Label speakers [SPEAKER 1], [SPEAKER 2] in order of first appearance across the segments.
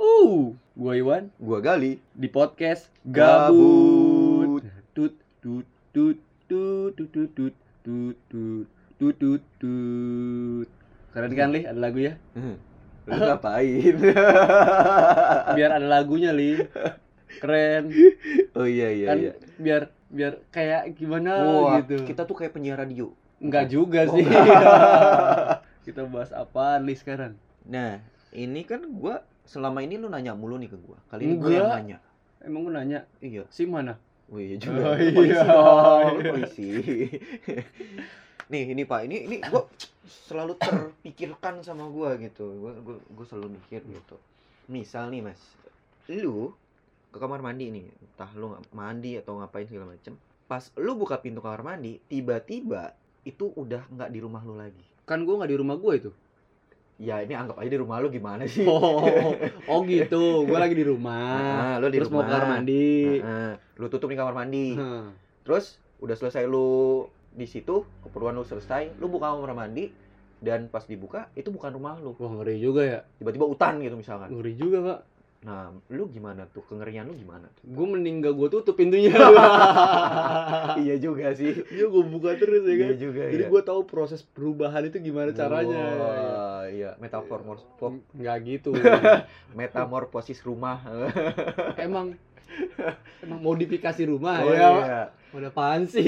[SPEAKER 1] Wuh, Uh, gua Iwan
[SPEAKER 2] Gua Gali.
[SPEAKER 1] di podcast Gabut. Tut tut tut tut tut tut tut tut tut tut tut tut. Keren kan Li, ada lagu ya?
[SPEAKER 2] Hmm. Lu ngapain?
[SPEAKER 1] Biar ada lagunya Li. Keren.
[SPEAKER 2] oh iya iya
[SPEAKER 1] Kan
[SPEAKER 2] iya.
[SPEAKER 1] biar biar kayak gimana
[SPEAKER 2] Wah,
[SPEAKER 1] gitu.
[SPEAKER 2] eh, kita tuh kayak penyiar radio.
[SPEAKER 1] Enggak juga
[SPEAKER 2] Oh,
[SPEAKER 1] sih.
[SPEAKER 2] enggak.
[SPEAKER 1] kita bahas apaan Li sekarang?
[SPEAKER 2] Nah, ini kan gua selama ini lu nanya mulu nih ke gua. Kali ini gua yang
[SPEAKER 1] Enggak.
[SPEAKER 2] nanya.
[SPEAKER 1] Emang gua nanya,
[SPEAKER 2] Iya.
[SPEAKER 1] si mana?
[SPEAKER 2] Oh iya juga.
[SPEAKER 1] Oh,
[SPEAKER 2] Lu polisi
[SPEAKER 1] iya.
[SPEAKER 2] dong, lu polisi. nih, ini Pak, ini ini gua selalu terpikirkan sama gua gitu. Gua gua, gua selalu mikir gitu. Misal nih, Mas. Lu ke kamar mandi nih, entah lu nga- mandi atau ngapain segala macem Pas lu buka pintu kamar mandi, tiba-tiba itu udah nggak di rumah lu lagi.
[SPEAKER 1] Kan gua nggak di rumah gua itu.
[SPEAKER 2] Ya, ini anggap aja di rumah lu gimana sih?
[SPEAKER 1] Oh, oh gitu. Gua lagi di rumah.
[SPEAKER 2] Ah, lu di
[SPEAKER 1] Terus
[SPEAKER 2] rumah.
[SPEAKER 1] mau kamar mandi.
[SPEAKER 2] Ah, ah. lu tutup di kamar mandi.
[SPEAKER 1] Hah.
[SPEAKER 2] Terus udah selesai lu di situ, keperluan lu selesai, lu buka kamar mandi dan pas dibuka itu bukan rumah lu.
[SPEAKER 1] Wah ngeri juga ya,
[SPEAKER 2] Tiba-tiba hutan gitu misalkan.
[SPEAKER 1] ngeri juga pak.
[SPEAKER 2] Nah, lu gimana tuh? Kengerian lu gimana tuh?
[SPEAKER 1] Gue mending gak gue tutup pintunya.
[SPEAKER 2] iya juga sih.
[SPEAKER 1] Iya gue buka terus ya kan.
[SPEAKER 2] Iya juga
[SPEAKER 1] Jadi
[SPEAKER 2] ya.
[SPEAKER 1] gue tahu proses perubahan itu gimana caranya. ya,
[SPEAKER 2] Wah, iya, metafor mor-
[SPEAKER 1] Nggak gitu.
[SPEAKER 2] metamorfosis rumah.
[SPEAKER 1] emang emang modifikasi rumah
[SPEAKER 2] Oh,
[SPEAKER 1] ya. Pak?
[SPEAKER 2] iya.
[SPEAKER 1] Udah apaan sih?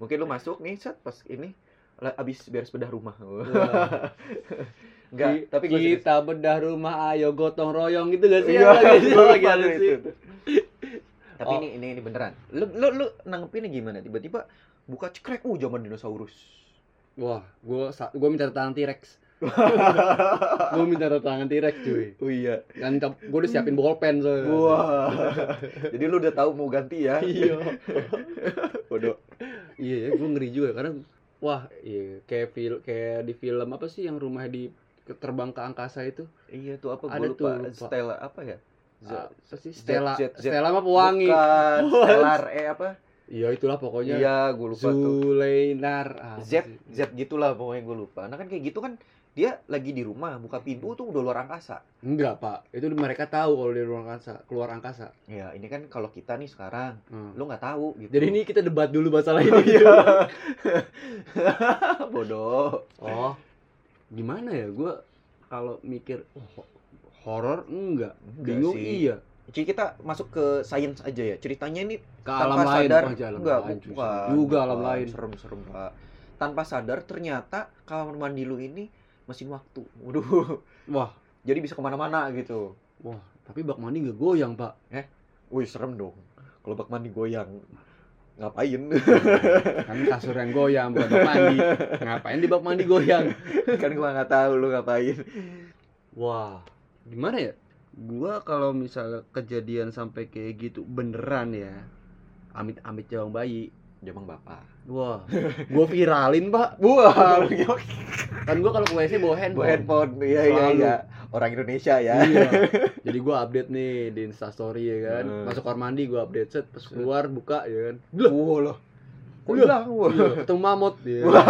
[SPEAKER 2] Mungkin lu masuk nih set pas ini la- abis beres bedah rumah.
[SPEAKER 1] Wah,
[SPEAKER 2] Enggak,
[SPEAKER 1] ki-
[SPEAKER 2] tapi gua serius.
[SPEAKER 1] kita bedah rumah ayo gotong royong gitu gak sih?
[SPEAKER 2] Iya,
[SPEAKER 1] Lagi-
[SPEAKER 2] gua
[SPEAKER 1] lagi
[SPEAKER 2] lupa
[SPEAKER 1] ada
[SPEAKER 2] tuh
[SPEAKER 1] sih.
[SPEAKER 2] itu. Tapi
[SPEAKER 1] Oh.
[SPEAKER 2] ini, ini ini beneran. Lu lu lu nanggepinnya gimana? Tiba-tiba buka cekrek uh zaman dinosaurus.
[SPEAKER 1] Wah, gue gue minta tangan T-Rex. Gue minta tangan T-Rex cuy.
[SPEAKER 2] oh iya.
[SPEAKER 1] Dan gue udah siapin bolpen soalnya.
[SPEAKER 2] Wah. Jadi lu udah tahu mau ganti ya.
[SPEAKER 1] Iya.
[SPEAKER 2] Bodoh.
[SPEAKER 1] Iya ya, gue ngeri juga karena wah, iya, kayak fil kayak di film apa sih yang rumah di ke- terbang ke angkasa itu?
[SPEAKER 2] Iya tuh apa
[SPEAKER 1] Ada
[SPEAKER 2] gua
[SPEAKER 1] tuh, Ah,
[SPEAKER 2] lupa.
[SPEAKER 1] lupa.
[SPEAKER 2] Stella apa ya? Z-
[SPEAKER 1] Apa sih Stella?
[SPEAKER 2] Jet- Jet-
[SPEAKER 1] Stella mah pewangi.
[SPEAKER 2] Bukan,
[SPEAKER 1] What?
[SPEAKER 2] Stellar eh apa?
[SPEAKER 1] Iya itulah pokoknya.
[SPEAKER 2] Iya, gua lupa tuh.
[SPEAKER 1] Zuleinar. Ah,
[SPEAKER 2] Z
[SPEAKER 1] sih.
[SPEAKER 2] Z gitulah pokoknya gua lupa. Nah kan kayak gitu kan dia lagi di rumah buka pintu tuh udah luar angkasa.
[SPEAKER 1] Enggak, Pak. Itu mereka tahu kalau di luar angkasa, keluar angkasa.
[SPEAKER 2] Ya, ini kan kalau kita nih sekarang
[SPEAKER 1] Hmm.
[SPEAKER 2] lu nggak tahu gitu.
[SPEAKER 1] Jadi ini kita debat dulu masalah
[SPEAKER 2] Oh,
[SPEAKER 1] ini.
[SPEAKER 2] iya. Bodoh.
[SPEAKER 1] oh. Gimana ya gua kalau mikir oh, ho- horor enggak, bingung iya.
[SPEAKER 2] Jadi kita masuk ke sains aja ya. Ceritanya ini
[SPEAKER 1] Ke
[SPEAKER 2] tanpa
[SPEAKER 1] alam lain,
[SPEAKER 2] sadar
[SPEAKER 1] Wah, aja alam
[SPEAKER 2] enggak
[SPEAKER 1] lain, cuy.
[SPEAKER 2] bukan,
[SPEAKER 1] juga
[SPEAKER 2] bukan.
[SPEAKER 1] alam lain.
[SPEAKER 2] Serem-serem, Pak. Tanpa sadar ternyata kamar mandi lu ini mesin waktu. Waduh.
[SPEAKER 1] Wah,
[SPEAKER 2] Jadi bisa kemana-mana gitu.
[SPEAKER 1] wah, tapi bak mandi nggak goyang, Pak.
[SPEAKER 2] Wih, serem dong. Kalau bak mandi goyang ngapain
[SPEAKER 1] kan kasur yang goyang bukan bak mandi ngapain di bak mandi goyang
[SPEAKER 2] kan gua nggak tahu lu ngapain
[SPEAKER 1] wah gimana ya gua kalau misalnya kejadian sampai kayak gitu beneran ya amit amit jawang bayi
[SPEAKER 2] jamang bapak
[SPEAKER 1] wah gua viralin pak
[SPEAKER 2] wah lu gimana?
[SPEAKER 1] kan gua kalau ke WC bawa
[SPEAKER 2] Bawa
[SPEAKER 1] handphone
[SPEAKER 2] handphone iya iya
[SPEAKER 1] Selalu.
[SPEAKER 2] iya orang Indonesia ya
[SPEAKER 1] Iya. Jadi gua update nih di Instastory ya kan.
[SPEAKER 2] Hmm.
[SPEAKER 1] Masuk kamar mandi gua update set, pas keluar buka ya kan.
[SPEAKER 2] Wah loh. Kok
[SPEAKER 1] Iya.
[SPEAKER 2] hilang? Wah.
[SPEAKER 1] Iya, ketemu mamut ya.
[SPEAKER 2] Wah.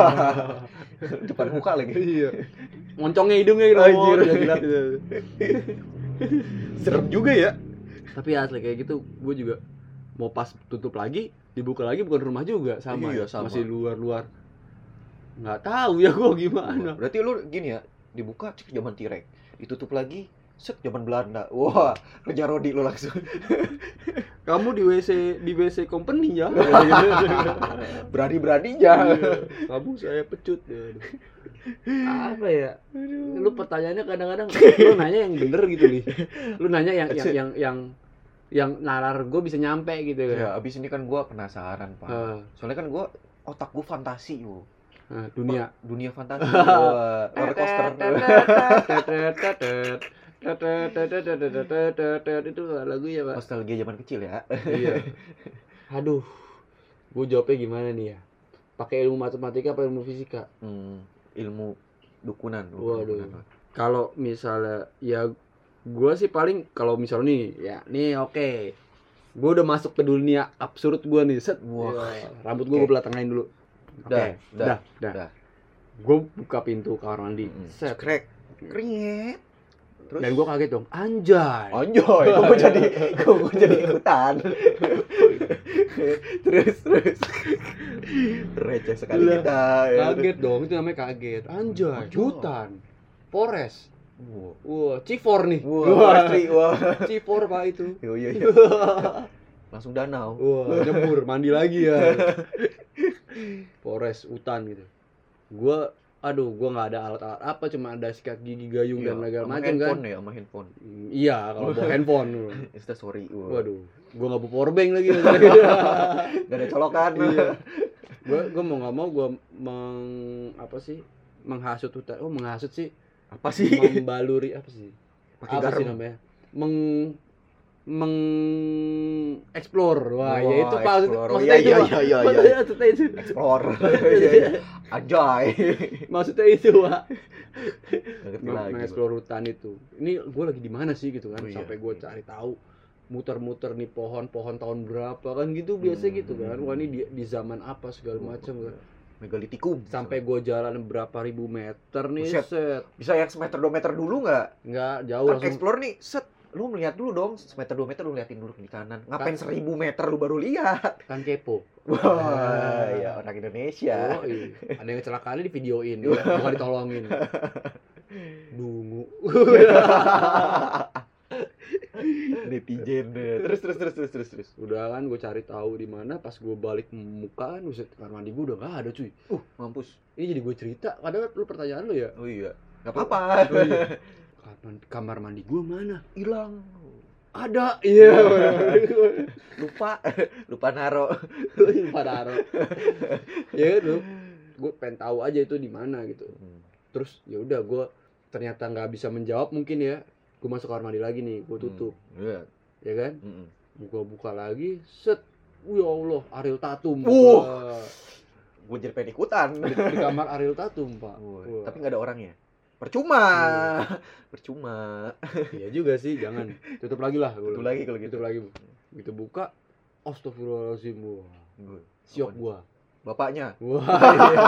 [SPEAKER 2] Depan muka lagi.
[SPEAKER 1] Iya. Moncongnya hidungnya gitu.
[SPEAKER 2] Anjir. Iya.
[SPEAKER 1] dia jilat gitu.
[SPEAKER 2] Serem juga ya.
[SPEAKER 1] tapi asli kayak gitu gue juga mau pas tutup lagi dibuka lagi bukan rumah juga sama
[SPEAKER 2] Iya,
[SPEAKER 1] ya
[SPEAKER 2] sama.
[SPEAKER 1] masih luar luar nggak tahu ya gue gimana
[SPEAKER 2] Berarti lu gini ya, dibuka cek zaman Tirek, ditutup lagi set zaman Belanda. Wah, kerja Rodi lu langsung.
[SPEAKER 1] kamu di wc di wc company ya
[SPEAKER 2] Iya. Berani-beraninya.
[SPEAKER 1] kamu saya pecut ya. apa ya lu pertanyaannya kadang-kadang lu nanya yang bener gitu nih lu nanya yang yang yang yang, yang nalar gue bisa nyampe gitu kan
[SPEAKER 2] Ya, abis ini kan gua penasaran, Pak.
[SPEAKER 1] Ah,
[SPEAKER 2] Soalnya kan gua otak gua fantasi, yo.
[SPEAKER 1] ah, dunia
[SPEAKER 2] Dunia fantasi. Wah,
[SPEAKER 1] Eh,
[SPEAKER 2] roller coaster.
[SPEAKER 1] eh, itu lagunya pak
[SPEAKER 2] Nostalgia zaman kecil ya.
[SPEAKER 1] iya aduh gue jawabnya gimana nih ya pakai ilmu matematika apa ilmu fisika
[SPEAKER 2] Hmm, ilmu dukunan. lu.
[SPEAKER 1] Waduh. kalau misalnya ya gue sih paling kalau misalnya nih ya nih oke gue udah masuk ke dunia absurd gue nih set
[SPEAKER 2] Wah.
[SPEAKER 1] Ya, rambut gue gue belatangin dulu oke
[SPEAKER 2] Dah,
[SPEAKER 1] dah
[SPEAKER 2] dah.
[SPEAKER 1] dah,
[SPEAKER 2] dah.
[SPEAKER 1] gue buka pintu kamar mandi
[SPEAKER 2] Mm.
[SPEAKER 1] set
[SPEAKER 2] Krek. Keringet. Terus
[SPEAKER 1] Dan gue kaget dong, anjay.
[SPEAKER 2] Anjoy, kok gue jadi kok gue jadi ikutan. terus terus receh sekali
[SPEAKER 1] Lah,
[SPEAKER 2] kita. ya.
[SPEAKER 1] Kaget dong, itu namanya kaget. Anjay,
[SPEAKER 2] Anjay.
[SPEAKER 1] hutan, Forest.
[SPEAKER 2] Wah,
[SPEAKER 1] Wah, Civor nih.
[SPEAKER 2] wah,
[SPEAKER 1] Wah,
[SPEAKER 2] forestry, wah.
[SPEAKER 1] Civor pak itu.
[SPEAKER 2] Yo yo yo. Langsung danau.
[SPEAKER 1] Wah, jemur, mandi lagi ya. Forest, hutan gitu. Gua aduh, gua nggak ada alat-alat apa, cuma ada sikat gigi gayung dan
[SPEAKER 2] Iya,
[SPEAKER 1] segala
[SPEAKER 2] sama
[SPEAKER 1] macam kan.
[SPEAKER 2] handphone ya, sama handphone.
[SPEAKER 1] Mm, Iya, kalau bawa handphone.
[SPEAKER 2] Insta sorry. Wah.
[SPEAKER 1] Waduh, gua nggak bawa powerbank lagi.
[SPEAKER 2] Gak ada colokan.
[SPEAKER 1] iya. Gua gua mau nggak mau gua meng apa sih? Menghasut hutan. Oh, menghasut sih.
[SPEAKER 2] Apa sih?
[SPEAKER 1] Membaluri apa sih?
[SPEAKER 2] Pakai
[SPEAKER 1] apa sih
[SPEAKER 2] garam.
[SPEAKER 1] namanya? Meng meng explore. Wah,
[SPEAKER 2] Wah,
[SPEAKER 1] ya itu Pak.
[SPEAKER 2] explore.
[SPEAKER 1] Maksudnya
[SPEAKER 2] Iya,
[SPEAKER 1] itu.
[SPEAKER 2] iya,
[SPEAKER 1] Pak.
[SPEAKER 2] iya, iya,
[SPEAKER 1] Maksudnya maksudnya itu.
[SPEAKER 2] Explore. Iya, iya. Anjoy.
[SPEAKER 1] Maksudnya itu, Pak.
[SPEAKER 2] Gak ngerti lagi, gua.
[SPEAKER 1] Mengeksplor hutan itu. Ini gue lagi di mana sih gitu kan?
[SPEAKER 2] Oh, iya.
[SPEAKER 1] Sampai gue cari tahu muter-muter nih pohon-pohon tahun berapa kan gitu biasa
[SPEAKER 2] Hmm.
[SPEAKER 1] gitu kan. Wah, ini di, di zaman apa segala macam kan.
[SPEAKER 2] Megalitikum.
[SPEAKER 1] Sampai gue jalan berapa ribu meter nih,
[SPEAKER 2] Buset.
[SPEAKER 1] set.
[SPEAKER 2] bisa yang semeter dua meter dulu nggak?
[SPEAKER 1] Nggak jauh
[SPEAKER 2] Kan
[SPEAKER 1] langsung.
[SPEAKER 2] explore nih, set lu melihat dulu dong semeter dua meter lu liatin dulu ke kanan
[SPEAKER 1] Kan-
[SPEAKER 2] ngapain seribu meter lu baru lihat
[SPEAKER 1] Kan kepo.
[SPEAKER 2] wah ya orang Indonesia
[SPEAKER 1] Oh, iya. Ada yang kecelakaannya di videoin, bukan ditolongin. Dungu.
[SPEAKER 2] netizen deh. terus terus terus terus terus terus
[SPEAKER 1] udah kan gue cari tahu di mana pas gue balik mukaan buset kamar mandi gue udah gak ada cuy
[SPEAKER 2] uh mampus
[SPEAKER 1] ini jadi gue cerita padahal lu pertanyaan lu ya
[SPEAKER 2] oh iya nggak apa-apa
[SPEAKER 1] Oh, iya. kamar, kamar mandi gue mana
[SPEAKER 2] hilang
[SPEAKER 1] ada iya
[SPEAKER 2] lupa lupa naro
[SPEAKER 1] lupa taruh ya lu gue pengen tahu aja itu di mana gitu terus ya udah gue ternyata nggak bisa menjawab mungkin ya gue masuk kamar mandi lagi nih gue tutup
[SPEAKER 2] iya Hmm.
[SPEAKER 1] ya kan
[SPEAKER 2] Mm-mm.
[SPEAKER 1] gue buka lagi set ya Allah Ariel Tatum
[SPEAKER 2] Wah. gue jadi pengen ikutan
[SPEAKER 1] Di, di kamar Ariel Tatum pak
[SPEAKER 2] Wah,
[SPEAKER 1] Wah.
[SPEAKER 2] tapi nggak ada orangnya percuma percuma
[SPEAKER 1] Iya juga sih, jangan. Tutup lagi lah. gua
[SPEAKER 2] itu
[SPEAKER 1] bilang.
[SPEAKER 2] lagi kalau gitu
[SPEAKER 1] Tutup lagi. Gitu buka, astagfirullahaladzim. Wah,
[SPEAKER 2] Gua-
[SPEAKER 1] siok
[SPEAKER 2] Apaan?
[SPEAKER 1] gua.
[SPEAKER 2] bapaknya
[SPEAKER 1] Wah, iya.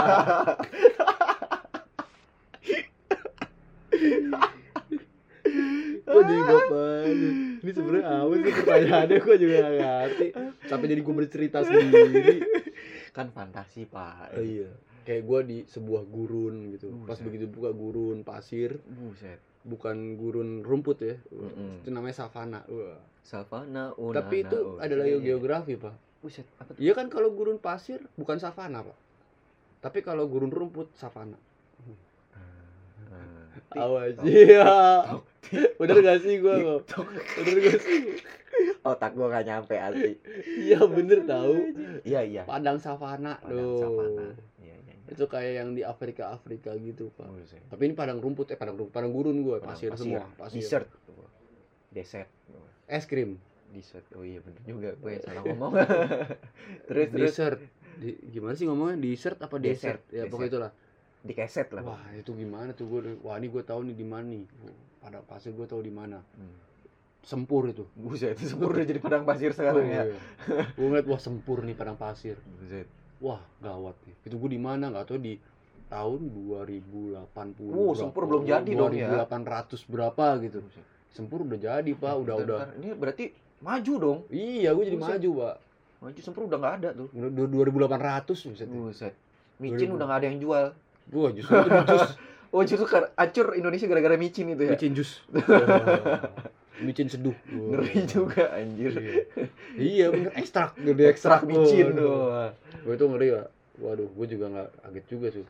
[SPEAKER 1] iya. Kok jadi gua apaan? Ini sebenarnya awas sih pertanyaannya gua juga gak ngerti. Sampai jadi gua bercerita sendiri.
[SPEAKER 2] kan fantasi pak
[SPEAKER 1] Oh, iya. Kayak gua di sebuah gurun gitu. Pas
[SPEAKER 2] Buset.
[SPEAKER 1] begitu buka gurun pasir,
[SPEAKER 2] buset
[SPEAKER 1] bukan gurun rumput ya.
[SPEAKER 2] Mm-mm.
[SPEAKER 1] Itu namanya savana. Wah.
[SPEAKER 2] savana oh, una
[SPEAKER 1] Tapi itu adalah geografi, Pak.
[SPEAKER 2] buset apa tuh
[SPEAKER 1] Iya kan kalau gurun pasir bukan savana, Pak. Tapi kalau gurun rumput savana. Awas. Iya. Bener gak sih gua kok? Bener gak sih?
[SPEAKER 2] otak gua gak nyampe asli
[SPEAKER 1] Iya bener tahu.
[SPEAKER 2] iya iya
[SPEAKER 1] Padang savana
[SPEAKER 2] Padang
[SPEAKER 1] loh.
[SPEAKER 2] savana iya iya iya.
[SPEAKER 1] Itu kayak yang di Afrika Afrika gitu, Pak.
[SPEAKER 2] Buset.
[SPEAKER 1] Tapi ini padang rumput eh padang rumput, padang gurun gua, pasir, semua, pasir.
[SPEAKER 2] desert desert
[SPEAKER 1] Es krim.
[SPEAKER 2] desert oh iya bener juga gue yang salah ngomong terus terus
[SPEAKER 1] Dessert. Di- gimana sih ngomongnya? Dessert apa
[SPEAKER 2] Dessert,
[SPEAKER 1] desert? Ya
[SPEAKER 2] dessert.
[SPEAKER 1] pokoknya itulah.
[SPEAKER 2] dikeset lah
[SPEAKER 1] Wah, itu gimana tuh gue? Wah, ini gue tahu nih di mana nih. Padang pasir gue tahu di mana.
[SPEAKER 2] Hmm.
[SPEAKER 1] Sempur itu.
[SPEAKER 2] buset sempur udah jadi padang pasir sekarang ya
[SPEAKER 1] Gue ngeliat wah sempur nih padang pasir.
[SPEAKER 2] buset
[SPEAKER 1] Wah gawat nih. Itu gue di mana nggak tahu di tahun 2080.
[SPEAKER 2] Wuh, Oh, Sempur belum jadi dong ya.
[SPEAKER 1] 2800 berapa gitu.
[SPEAKER 2] Buset.
[SPEAKER 1] Sempur udah jadi pak, udah
[SPEAKER 2] Bentar,
[SPEAKER 1] udah.
[SPEAKER 2] bentar. ini berarti maju dong
[SPEAKER 1] Iya, gue jadi
[SPEAKER 2] Buset.
[SPEAKER 1] maju pak.
[SPEAKER 2] maju sempur udah nggak ada tuh
[SPEAKER 1] Udah du- 2800 misalnya.
[SPEAKER 2] Buset.
[SPEAKER 1] Dua
[SPEAKER 2] Micin
[SPEAKER 1] ribu.
[SPEAKER 2] udah gak ada yang jual.
[SPEAKER 1] Wah justru itu di jus,
[SPEAKER 2] Oh justru kar- acur Indonesia gara-gara micin itu ya.
[SPEAKER 1] micin jus. Micin seduh.
[SPEAKER 2] Ngeri juga anjir.
[SPEAKER 1] Oh, Iya. Iya bener ekstrak gede
[SPEAKER 2] Ekstrak micin
[SPEAKER 1] Waduh.
[SPEAKER 2] tuh.
[SPEAKER 1] Gue itu ngeri pak. Waduh, gue juga nggak kaget juga sih.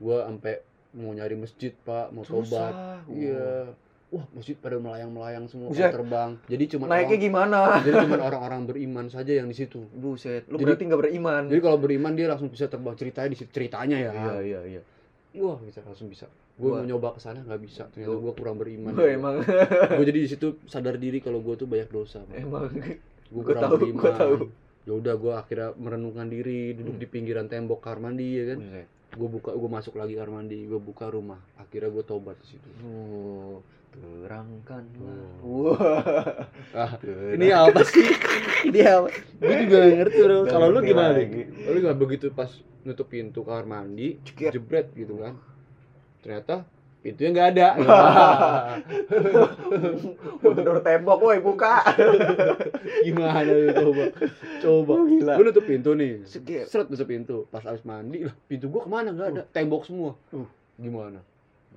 [SPEAKER 1] Gue sampai mau nyari masjid pak, mau tobat.
[SPEAKER 2] Susah.
[SPEAKER 1] Iya. Wah, masjid pada melayang-melayang semua
[SPEAKER 2] Buset.
[SPEAKER 1] kapal terbang. Jadi cuma
[SPEAKER 2] Iya. Naiknya gimana?
[SPEAKER 1] jadi cuma orang-orang beriman saja yang di situ.
[SPEAKER 2] Buset,
[SPEAKER 1] Jadi-
[SPEAKER 2] lu berarti gak beriman.
[SPEAKER 1] Jadi kalau beriman dia langsung bisa terbang ceritanya di situ ceritanya ya.
[SPEAKER 2] Iya, iya, iya.
[SPEAKER 1] Wah, bisa langsung bisa. Gue
[SPEAKER 2] Wah.
[SPEAKER 1] mau nyoba ke sana nggak bisa. Ternyata
[SPEAKER 2] Tuh.
[SPEAKER 1] gue kurang beriman.
[SPEAKER 2] Gue emang
[SPEAKER 1] Gue jadi di situ sadar diri kalau gue tuh banyak dosa.
[SPEAKER 2] emang
[SPEAKER 1] Gue
[SPEAKER 2] Eh, Gua tahu, gua tahu.
[SPEAKER 1] Ya udah gue akhirnya merenungkan diri duduk
[SPEAKER 2] Hmm.
[SPEAKER 1] di pinggiran tembok kamar mandi ya kan.
[SPEAKER 2] Buset.
[SPEAKER 1] Gue buka gue masuk lagi kamar mandi, gue buka rumah. Akhirnya gue tobat di situ.
[SPEAKER 2] Oh, terangkan.
[SPEAKER 1] Oh.
[SPEAKER 2] Wah.
[SPEAKER 1] Ah, ini apa sih? Ini apa? Gue juga gak ngerti bro.
[SPEAKER 2] Gak
[SPEAKER 1] Kalau lu
[SPEAKER 2] ngerti
[SPEAKER 1] gimana?
[SPEAKER 2] lagi.
[SPEAKER 1] Lu gak begitu pas nutup pintu kamar mandi,
[SPEAKER 2] Cekir.
[SPEAKER 1] jebret gitu kan? Ternyata Pintunya nggak ada.
[SPEAKER 2] Mundur tembok, woi buka.
[SPEAKER 1] Gimana lu coba? Coba.
[SPEAKER 2] Oh, gila.
[SPEAKER 1] Lu nutup pintu nih.
[SPEAKER 2] Segi-
[SPEAKER 1] Seret nutup pintu. Pas habis mandi lah, pintu gua kemana nggak ada. Tembok semua.
[SPEAKER 2] Uh.
[SPEAKER 1] Gimana?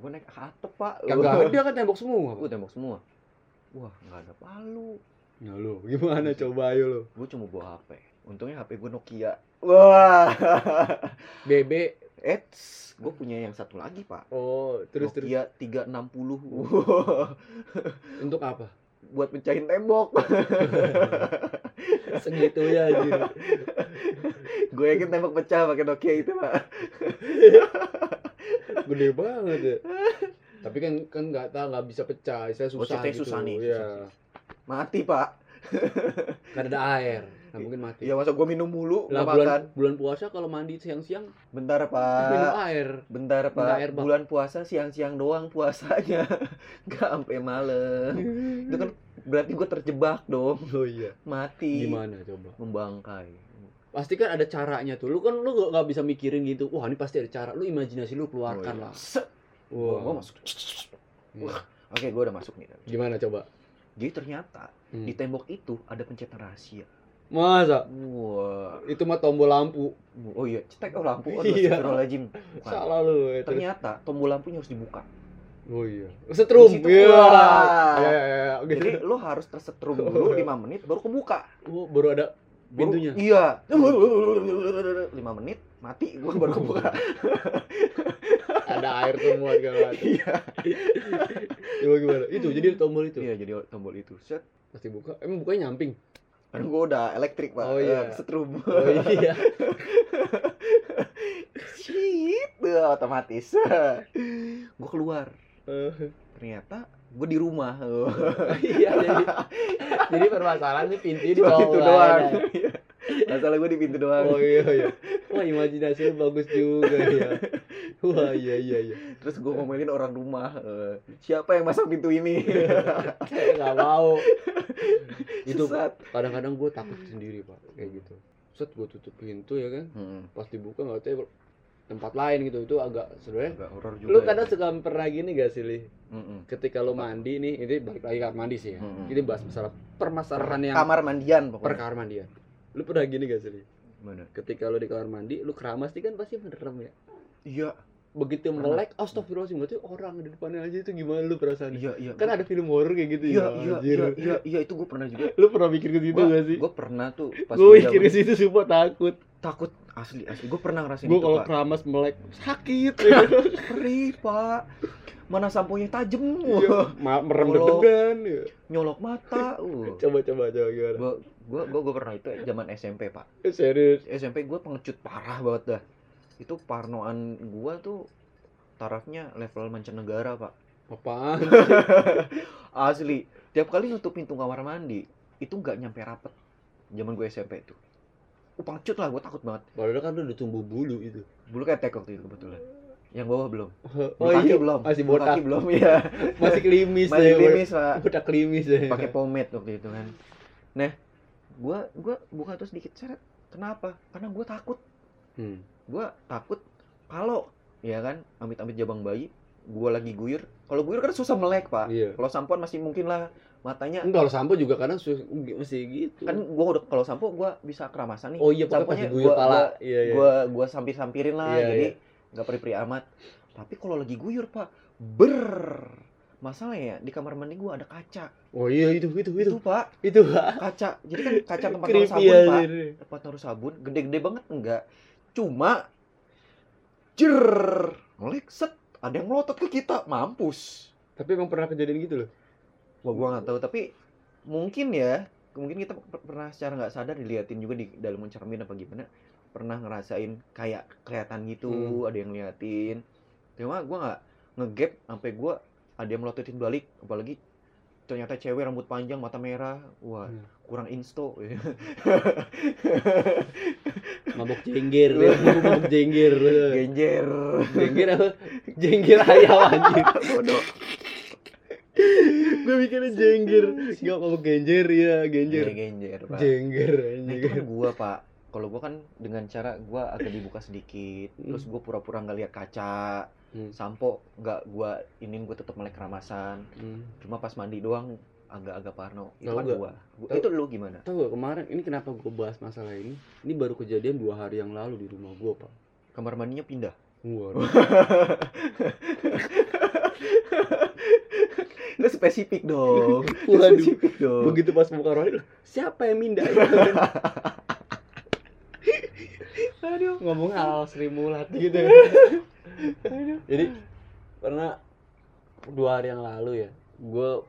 [SPEAKER 2] Gue naik ke atap pak.
[SPEAKER 1] Kagak ada kan tembok semua.
[SPEAKER 2] Gue tembok semua. Wah nggak ada palu.
[SPEAKER 1] Ya lu, gimana coba ayo lu.
[SPEAKER 2] Gue cuma bawa HP. Untungnya HP gue Nokia. Wah.
[SPEAKER 1] BB.
[SPEAKER 2] Eits, gue punya yang satu lagi pak.
[SPEAKER 1] Oh, terus terus
[SPEAKER 2] Nokia 360.
[SPEAKER 1] untuk apa?
[SPEAKER 2] Buat pecahin tembok.
[SPEAKER 1] Segitu ya anjir.
[SPEAKER 2] gue yakin tembok pecah pakai Nokia itu pak.
[SPEAKER 1] Gede banget ya. Tapi kan kan nggak tahu nggak bisa pecah, saya
[SPEAKER 2] Oh,
[SPEAKER 1] susah
[SPEAKER 2] ceritanya
[SPEAKER 1] gitu.
[SPEAKER 2] susah nih,
[SPEAKER 1] Iya.
[SPEAKER 2] susah. Mati pak.
[SPEAKER 1] Karena ada air. Nah, mungkin mati.
[SPEAKER 2] Ya masa gue minum mulu,
[SPEAKER 1] Lah
[SPEAKER 2] nggak
[SPEAKER 1] bulan,
[SPEAKER 2] makan.
[SPEAKER 1] bulan puasa kalau mandi siang-siang
[SPEAKER 2] Bentar
[SPEAKER 1] minum
[SPEAKER 2] pak.
[SPEAKER 1] air.
[SPEAKER 2] Bentar
[SPEAKER 1] Bentar,
[SPEAKER 2] pak.
[SPEAKER 1] air, Pak.
[SPEAKER 2] Bulan puasa siang-siang doang puasanya. Gak sampai malam. Itu kan berarti gue terjebak dong.
[SPEAKER 1] Oh iya.
[SPEAKER 2] Mati.
[SPEAKER 1] Gimana coba?
[SPEAKER 2] Membangkai.
[SPEAKER 1] Pasti kan ada caranya tuh. Lu kan lu gak, gak bisa mikirin gitu. Wah, ini pasti ada cara. Lu imajinasi lu keluarkan
[SPEAKER 2] Oh, iya.
[SPEAKER 1] lah.
[SPEAKER 2] Set.
[SPEAKER 1] Wah. Hmm.
[SPEAKER 2] Gua masuk. Wah. Oke, gue udah masuk nih.
[SPEAKER 1] Gimana coba?
[SPEAKER 2] Jadi ternyata
[SPEAKER 1] Hmm.
[SPEAKER 2] di tembok itu ada pencetan rahasia.
[SPEAKER 1] Masa
[SPEAKER 2] Wah.
[SPEAKER 1] itu mah tombol lampu.
[SPEAKER 2] Oh iya, cetek oh lampu. Oh,
[SPEAKER 1] Iya.
[SPEAKER 2] astagfirullahaladzim. Bukan.
[SPEAKER 1] Salah lu. ya, terus.
[SPEAKER 2] Ternyata tombol lampunya harus dibuka.
[SPEAKER 1] Oh iya. Setrum.
[SPEAKER 2] Di situ.
[SPEAKER 1] Iya.
[SPEAKER 2] Wah.
[SPEAKER 1] Iya, iya, iya. Gitu.
[SPEAKER 2] Jadi lo harus tersetrum dulu 5 menit baru kebuka.
[SPEAKER 1] Oh, baru ada
[SPEAKER 2] Baru-
[SPEAKER 1] Pintunya?
[SPEAKER 2] Iya. 5 menit mati gua baru kebuka.
[SPEAKER 1] ada air semua segala macam.
[SPEAKER 2] Iya.
[SPEAKER 1] Coba gimana? Iya, Itu jadi ada tombol itu.
[SPEAKER 2] Iya, jadi tombol itu. Set.
[SPEAKER 1] Pasti buka. Emang bukanya nyamping.
[SPEAKER 2] Kan gua udah elektrik, Pak.
[SPEAKER 1] Oh, iya.
[SPEAKER 2] Eh, Setrum.
[SPEAKER 1] Oh iya.
[SPEAKER 2] Shit, Eh, otomatis. gua keluar.
[SPEAKER 1] Eh,
[SPEAKER 2] Ternyata gua di rumah. Oh.
[SPEAKER 1] iya jadi, jadi permasalahannya pintunya di
[SPEAKER 2] Cuma
[SPEAKER 1] bawah.
[SPEAKER 2] pintu doang. Iya. Masalah gua di pintu doang.
[SPEAKER 1] Oh iya iya. Wah imajinasi lu bagus juga ya. Wah iya iya iya.
[SPEAKER 2] Terus gua ngomelin orang rumah. Eh, siapa yang masang pintu ini?
[SPEAKER 1] Saya nggak mau. Itu
[SPEAKER 2] Sesat.
[SPEAKER 1] kadang-kadang gue takut sendiri pak kayak gitu. Set gue tutup pintu ya kan.
[SPEAKER 2] Hmm.
[SPEAKER 1] Pas dibuka nggak tahu ya, tempat lain gitu itu agak sebenarnya.
[SPEAKER 2] Agak horor juga.
[SPEAKER 1] Lu
[SPEAKER 2] ya.
[SPEAKER 1] kadang suka pernah gini gak sih li?
[SPEAKER 2] Mm-mm.
[SPEAKER 1] Ketika lu mandi nih, ini balik lagi kamar mandi sih ya.
[SPEAKER 2] Mm-mm.
[SPEAKER 1] Ini bahas masalah permasalahan yang
[SPEAKER 2] kamar mandian
[SPEAKER 1] per
[SPEAKER 2] pokoknya.
[SPEAKER 1] kamar mandi ya. Lu pernah gini gak sih li?
[SPEAKER 2] Mana?
[SPEAKER 1] Ketika lu di kamar mandi, lu keramas nih kan pasti merem ya.
[SPEAKER 2] Iya,
[SPEAKER 1] begitu
[SPEAKER 2] Pernah.
[SPEAKER 1] melek astagfirullahaladzim berarti orang di depannya aja itu gimana lu perasaan
[SPEAKER 2] iya, iya.
[SPEAKER 1] kan ada film horor kayak gitu ya
[SPEAKER 2] iya, iya,
[SPEAKER 1] anjir.
[SPEAKER 2] iya, iya, iya, itu gue pernah juga.
[SPEAKER 1] lu pernah mikir ke situ
[SPEAKER 2] Gua-
[SPEAKER 1] gak sih
[SPEAKER 2] Gue pernah tuh pas
[SPEAKER 1] gue
[SPEAKER 2] gua
[SPEAKER 1] mikir ke
[SPEAKER 2] zaman-
[SPEAKER 1] situ sumpah takut
[SPEAKER 2] takut asli asli. Gue pernah ngerasain
[SPEAKER 1] gue
[SPEAKER 2] itu,
[SPEAKER 1] kalau
[SPEAKER 2] Pak.
[SPEAKER 1] keramas melek sakit
[SPEAKER 2] Perih, Pak. Mana sampo nya tajem.
[SPEAKER 1] Iya, ma- merem
[SPEAKER 2] Kalau-
[SPEAKER 1] deg-degan ya.
[SPEAKER 2] Nyolok mata. Uh.
[SPEAKER 1] coba coba coba gimana
[SPEAKER 2] Gue gua gua gua pernah itu zaman SMP, Pak.
[SPEAKER 1] Eh, serius
[SPEAKER 2] SMP gue pengecut parah banget dah. Itu parnoan gua tuh tarafnya level mancanegara, Pak.
[SPEAKER 1] apaan
[SPEAKER 2] Asli, tiap kali nutup pintu kamar mandi itu nggak nyampe rapet. Zaman gue SMP itu. Gue Uh, pengecut lah, gue takut banget.
[SPEAKER 1] padahal kan lu udah tumbuh bulu itu
[SPEAKER 2] Bulu ketek waktu itu kebetulan. Yang bawah belum. Bulu
[SPEAKER 1] oh
[SPEAKER 2] kaki
[SPEAKER 1] iya
[SPEAKER 2] belum.
[SPEAKER 1] masih
[SPEAKER 2] Bulu
[SPEAKER 1] botak
[SPEAKER 2] kaki belum ya.
[SPEAKER 1] masih klimis
[SPEAKER 2] Masih
[SPEAKER 1] ya
[SPEAKER 2] klimis pak.
[SPEAKER 1] botak klimis ya
[SPEAKER 2] Pakai pomade waktu itu kan. Nah, gue gua buka terus dikit seret. Kenapa? Karena gue takut.
[SPEAKER 1] Hmm.
[SPEAKER 2] Gue takut kalau ya kan amit-amit jabang bayi gue lagi guyur. Kalau guyur kan susah melek pak.
[SPEAKER 1] iya
[SPEAKER 2] Kalau sampoan masih mungkin lah matanya
[SPEAKER 1] Enggak, kalau sampo juga kadang su- masih gitu
[SPEAKER 2] kan gua udah kalau sampo gua bisa keramasan nih
[SPEAKER 1] oh iya pokoknya pas
[SPEAKER 2] Samponya
[SPEAKER 1] diguyur
[SPEAKER 2] gua-
[SPEAKER 1] pala
[SPEAKER 2] gua-
[SPEAKER 1] iya iya
[SPEAKER 2] gua gua sampir sampirin lah
[SPEAKER 1] Iya,
[SPEAKER 2] jadi nggak peri-peri amat tapi kalau lagi guyur pak ber masalahnya ya di kamar mandi gua ada kaca
[SPEAKER 1] Oh iya itu itu
[SPEAKER 2] itu
[SPEAKER 1] itu
[SPEAKER 2] pak
[SPEAKER 1] itu pak.
[SPEAKER 2] kaca jadi kan kaca tempat naruh
[SPEAKER 1] Creepy
[SPEAKER 2] sabun pak
[SPEAKER 1] anjir.
[SPEAKER 2] tempat naruh sabun gede-gede banget enggak cuma jer melek set ada yang melotot ke kita mampus
[SPEAKER 1] Tapi emang pernah kejadian gitu loh.
[SPEAKER 2] wah gua nggak tahu tapi mungkin ya mungkin kita per- pernah secara nggak sadar diliatin juga di dalam cermin apa gimana pernah ngerasain kayak kelihatan gitu
[SPEAKER 1] Hmm.
[SPEAKER 2] ada yang ngeliatin cuma gua nggak ngegap sampai gua ada yang melototin balik apalagi ternyata cewek rambut panjang mata merah wah
[SPEAKER 1] Hmm.
[SPEAKER 2] kurang insto
[SPEAKER 1] Mabok jengger, dia Iya, mabok jengger.
[SPEAKER 2] genjer
[SPEAKER 1] Jengger apa? Jengger ayam anjir.
[SPEAKER 2] bodoh
[SPEAKER 1] Gue mikirnya jengger. Enggak mabok genjer ya, genjer.
[SPEAKER 2] Iya, genjer pak
[SPEAKER 1] Jengger
[SPEAKER 2] nah itu
[SPEAKER 1] anjir.
[SPEAKER 2] kan gua pak Hmm. kalau gua kan dengan cara gua agak dibuka sedikit terus gua pura-pura nggak lihat kaca
[SPEAKER 1] Hmm.
[SPEAKER 2] sampo nggak gua ini gua tetap melek ramasan
[SPEAKER 1] Hmm.
[SPEAKER 2] cuma pas mandi doang agak-agak parno itu
[SPEAKER 1] Tahu
[SPEAKER 2] kan
[SPEAKER 1] nggak?
[SPEAKER 2] gua, Gua-
[SPEAKER 1] Tahu.
[SPEAKER 2] itu lu gimana
[SPEAKER 1] Tahu gak kemarin ini kenapa gue bahas masalah ini? Ini baru kejadian dua hari yang lalu di rumah gue pak.
[SPEAKER 2] kamar mandinya pindah
[SPEAKER 1] Waduh.
[SPEAKER 2] lu spesifik dong Lu
[SPEAKER 1] Waduh.
[SPEAKER 2] spesifik dong
[SPEAKER 1] Begitu pas buka rohnya, siapa yang mindah?
[SPEAKER 2] aduh
[SPEAKER 1] Ngomong hal Sri Mulat gitu.
[SPEAKER 2] aduh
[SPEAKER 1] Jadi karena dua hari yang lalu ya, gue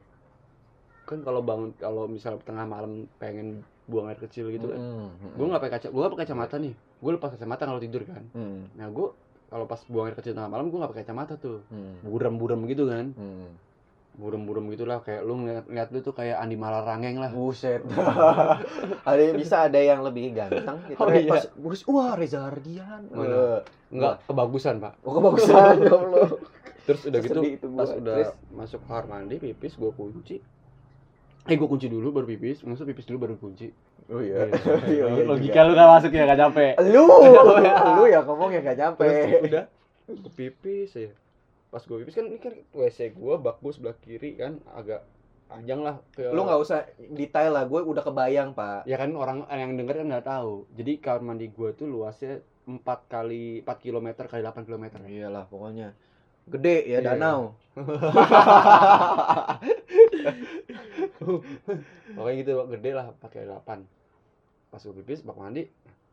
[SPEAKER 1] kan kalau bangun kalau misal tengah malam pengen buang air kecil gitu
[SPEAKER 2] Hmm,
[SPEAKER 1] kan, gue nggak pakai kaca, gue nggak pakai kacamata nih, gue lepas kacamata kalau tidur kan.
[SPEAKER 2] hmm.
[SPEAKER 1] Nah gue kalau pas buang air kecil tengah malam gue nggak pakai kacamata tuh,
[SPEAKER 2] Hmm.
[SPEAKER 1] buram-buram gitu kan,
[SPEAKER 2] Hmm.
[SPEAKER 1] buram-buram gitulah kayak lu ngeliat, ngeliat lu tuh kayak Andi Malarangeng lah.
[SPEAKER 2] Buset. ada yang bisa ada yang lebih ganteng gitu.
[SPEAKER 1] Oh,
[SPEAKER 2] Kayak
[SPEAKER 1] iya.
[SPEAKER 2] pas, bus, wah Reza Ardian.
[SPEAKER 1] Oh, iya.
[SPEAKER 2] Wah.
[SPEAKER 1] Enggak kebagusan pak.
[SPEAKER 2] Oh, kebagusan goblok.
[SPEAKER 1] Terus udah gitu
[SPEAKER 2] Sedih itu gua.
[SPEAKER 1] pas udah
[SPEAKER 2] Terus,
[SPEAKER 1] masuk kamar mandi pipis gue kunci. Eh gue kunci dulu baru pipis, maksud pipis dulu baru kunci.
[SPEAKER 2] oh iya.
[SPEAKER 1] Iya.
[SPEAKER 2] Iya, iya
[SPEAKER 1] Logika lu gak masuk ya gak capek.
[SPEAKER 2] juga. Lu, lu ya ngomong ya gak
[SPEAKER 1] Terus
[SPEAKER 2] nyampe.
[SPEAKER 1] udah gue pipis ya. Pas gue pipis kan ini kan WC gue bak gua sebelah kiri kan agak panjang lah. Ke...
[SPEAKER 2] Lu nggak usah detail lah, gue udah kebayang pak.
[SPEAKER 1] Ya kan orang yang denger kan nggak tahu. Jadi kamar mandi gue tuh luasnya 4 kali 4 km kali ya. 8 km.
[SPEAKER 2] Iyalah Iya pokoknya. Gede ya
[SPEAKER 1] Iya.
[SPEAKER 2] danau.
[SPEAKER 1] Pokoknya gitu gede lah pakai 8. Pas gue pipis bak mandi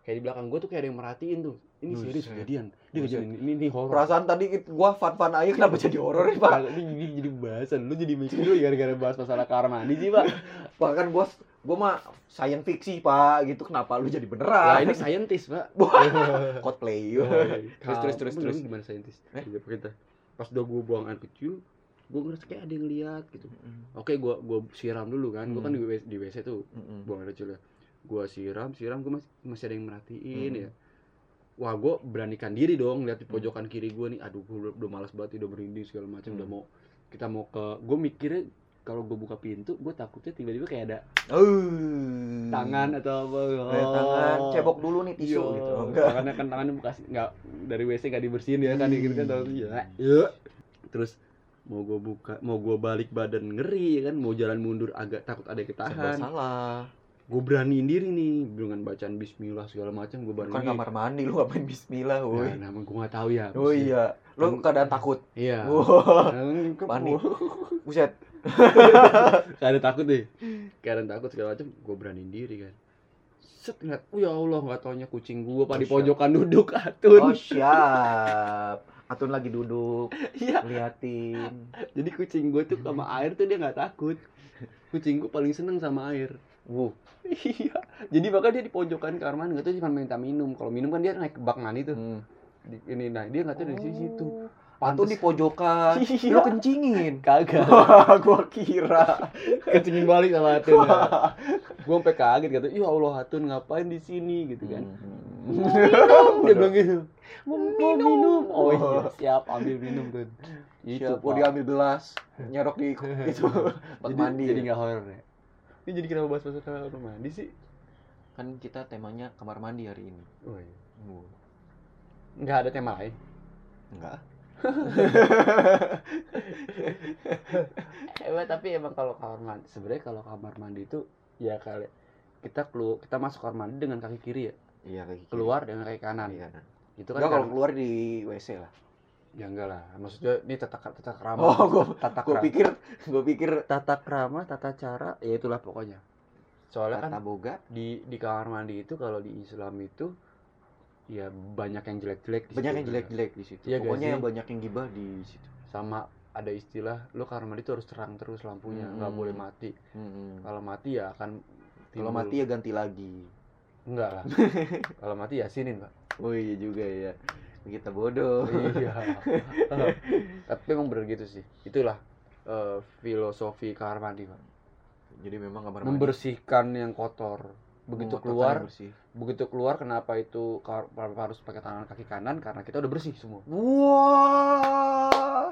[SPEAKER 1] kayak di belakang gue tuh kayak ada yang merhatiin tuh. Ini
[SPEAKER 2] Buset.
[SPEAKER 1] serius kejadian. Dia
[SPEAKER 2] Buset.
[SPEAKER 1] kejadian ini, ini horor.
[SPEAKER 2] Perasaan tadi it- gua fan-fan aja kenapa jadi horor nih pak?
[SPEAKER 1] Kagak, Ini, ini jadi bahasan. Lu jadi mikir lu gara-gara bahas masalah kamar mandi sih, Pak.
[SPEAKER 2] Bahkan gua gua mah science fiksi pak gitu kenapa lu jadi
[SPEAKER 1] Lah
[SPEAKER 2] beneran?
[SPEAKER 1] Nah, ini Oh, saintis, Pak. Iya.
[SPEAKER 2] cosplay.
[SPEAKER 1] terus
[SPEAKER 2] terus, terus, terus.
[SPEAKER 1] gimana saintis?
[SPEAKER 2] Eh?
[SPEAKER 1] Iya, kita. Pas udah gue buang air kecil, gue ngerasa kayak ada yang lihat gitu. Oke, gua gua siram dulu kan. Gua kan
[SPEAKER 2] Hmm.
[SPEAKER 1] di WC, di WC tuh buang air kecil ya. Gua siram, siram gua masih masih ada yang merhatiin
[SPEAKER 2] Hmm.
[SPEAKER 1] ya. Wah, gua beranikan diri dong lihat di
[SPEAKER 2] Hmm.
[SPEAKER 1] pojokan kiri gua nih. Aduh, gua udah, udah malas banget, udah merinding segala macam,
[SPEAKER 2] Hmm.
[SPEAKER 1] udah mau kita mau ke gua mikirnya kalau gua buka pintu, gua takutnya tiba-tiba kayak ada
[SPEAKER 2] Hmm. Uh.
[SPEAKER 1] tangan atau apa.
[SPEAKER 2] Eh, tangan
[SPEAKER 1] Oh.
[SPEAKER 2] cebok dulu nih tisu
[SPEAKER 1] Iya,
[SPEAKER 2] gitu. Enggak.
[SPEAKER 1] Tangannya kan tangannya bekas nggak dari WC nggak dibersihin ya kan
[SPEAKER 2] Hmm.
[SPEAKER 1] gitu kan terus ya. ya. Terus mau gue buka, mau gue balik badan ngeri ya kan, mau jalan mundur agak takut ada yang
[SPEAKER 2] Serba
[SPEAKER 1] ketahan.
[SPEAKER 2] salah.
[SPEAKER 1] Gue beraniin diri nih dengan bacaan Bismillah segala macam gue
[SPEAKER 2] Bukan
[SPEAKER 1] beraniin.
[SPEAKER 2] kamar mandi lu ngapain bismillah,
[SPEAKER 1] Nah,
[SPEAKER 2] woi.
[SPEAKER 1] nama gue nggak tahu ya.
[SPEAKER 2] Oh iya, lu
[SPEAKER 1] Kan-
[SPEAKER 2] keadaan takut.
[SPEAKER 1] Iya.
[SPEAKER 2] Wah,
[SPEAKER 1] Kan- kan-
[SPEAKER 2] panik. Buset.
[SPEAKER 1] Karena takut deh. Karena takut segala macam, gue beraniin diri kan. Set ngeliat, oh ya Allah nggak taunya kucing gue pak di
[SPEAKER 2] Masya.
[SPEAKER 1] pojokan duduk ah,
[SPEAKER 2] Oh,
[SPEAKER 1] atun.
[SPEAKER 2] siap. Atun lagi duduk,
[SPEAKER 1] Iya.
[SPEAKER 2] liatin.
[SPEAKER 1] Jadi kucing gue tuh sama air tuh dia nggak takut. Kucing gue paling seneng sama air.
[SPEAKER 2] Wuh,
[SPEAKER 1] Iya. Jadi bahkan dia di pojokan kamar mandi nggak tahu cuma minta minum. Kalau minum kan dia naik ke bak mandi tuh.
[SPEAKER 2] hmm.
[SPEAKER 1] Di- ini nah dia nggak tahu
[SPEAKER 2] Oh.
[SPEAKER 1] dari sisi situ.
[SPEAKER 2] Atun di pojokan.
[SPEAKER 1] Iya.
[SPEAKER 2] Lu kencingin.
[SPEAKER 1] kagak.
[SPEAKER 2] Wah, gua kira.
[SPEAKER 1] Kecingin balik sama Hatun. ya. Gue sampai kaget kata, "Ya Allah Hatun ngapain di sini?" gitu kan.
[SPEAKER 2] Hmm.
[SPEAKER 1] dia bilang gitu. Mau mau minum. Oh iya, siap ambil minum tuh. Itu
[SPEAKER 2] Siap, mau
[SPEAKER 1] Pak.
[SPEAKER 2] diambil gelas, nyerok di itu bak
[SPEAKER 1] Jadi,
[SPEAKER 2] mandi.
[SPEAKER 1] jadi nggak horor ya. Ini jadi kenapa bahas masalah kamar mandi sih?
[SPEAKER 2] kan kita temanya kamar mandi hari ini.
[SPEAKER 1] Oh iya. Nggak ada tema lain.
[SPEAKER 2] Enggak.
[SPEAKER 1] Emang tapi emang kalau kamar mandi sebenarnya kalau kamar mandi itu ya kali kita kelu kita masuk kamar mandi dengan kaki kiri ya
[SPEAKER 2] Iya kayak gitu.
[SPEAKER 1] keluar dengan kaki kanan
[SPEAKER 2] Iya.
[SPEAKER 1] itu kan
[SPEAKER 2] Enggak kalau
[SPEAKER 1] karena-
[SPEAKER 2] keluar di WC lah.
[SPEAKER 1] ya enggak lah maksudnya ini tata tata krama
[SPEAKER 2] Oh, gua
[SPEAKER 1] tata krama
[SPEAKER 2] gua pikir gua pikir
[SPEAKER 1] tata krama tata cara ya itulah pokoknya soalnya kan
[SPEAKER 2] kata boga
[SPEAKER 1] di di kamar mandi itu kalau di Islam itu ya banyak yang jelek-jelek di situ
[SPEAKER 2] banyak yang
[SPEAKER 1] juga.
[SPEAKER 2] jelek-jelek di situ.
[SPEAKER 1] Iya, guys,
[SPEAKER 2] Pokoknya yang
[SPEAKER 1] iya.
[SPEAKER 2] banyak yang gibah di situ.
[SPEAKER 1] sama ada istilah lo kamar mandi itu harus terang terus lampunya nggak
[SPEAKER 2] Hmm.
[SPEAKER 1] boleh mati kalau mati ya akan
[SPEAKER 2] Kalau
[SPEAKER 1] timbul-
[SPEAKER 2] mati ya ganti lagi.
[SPEAKER 1] enggak lah kalau mati ya sinin pak
[SPEAKER 2] Oh iya juga ya. Kita bodoh.
[SPEAKER 1] iya tapi emang bener gitu sih itulah eh, filosofi kamar mandi pak
[SPEAKER 2] Jadi memang kamar mandi
[SPEAKER 1] membersihkan yang kotor begitu
[SPEAKER 2] mengotorkan yang
[SPEAKER 1] keluar
[SPEAKER 2] bersih.
[SPEAKER 1] begitu keluar kenapa itu kamar mandi harus pakai tangan kaki kanan karena kita udah bersih semua Iya.
[SPEAKER 2] Wah,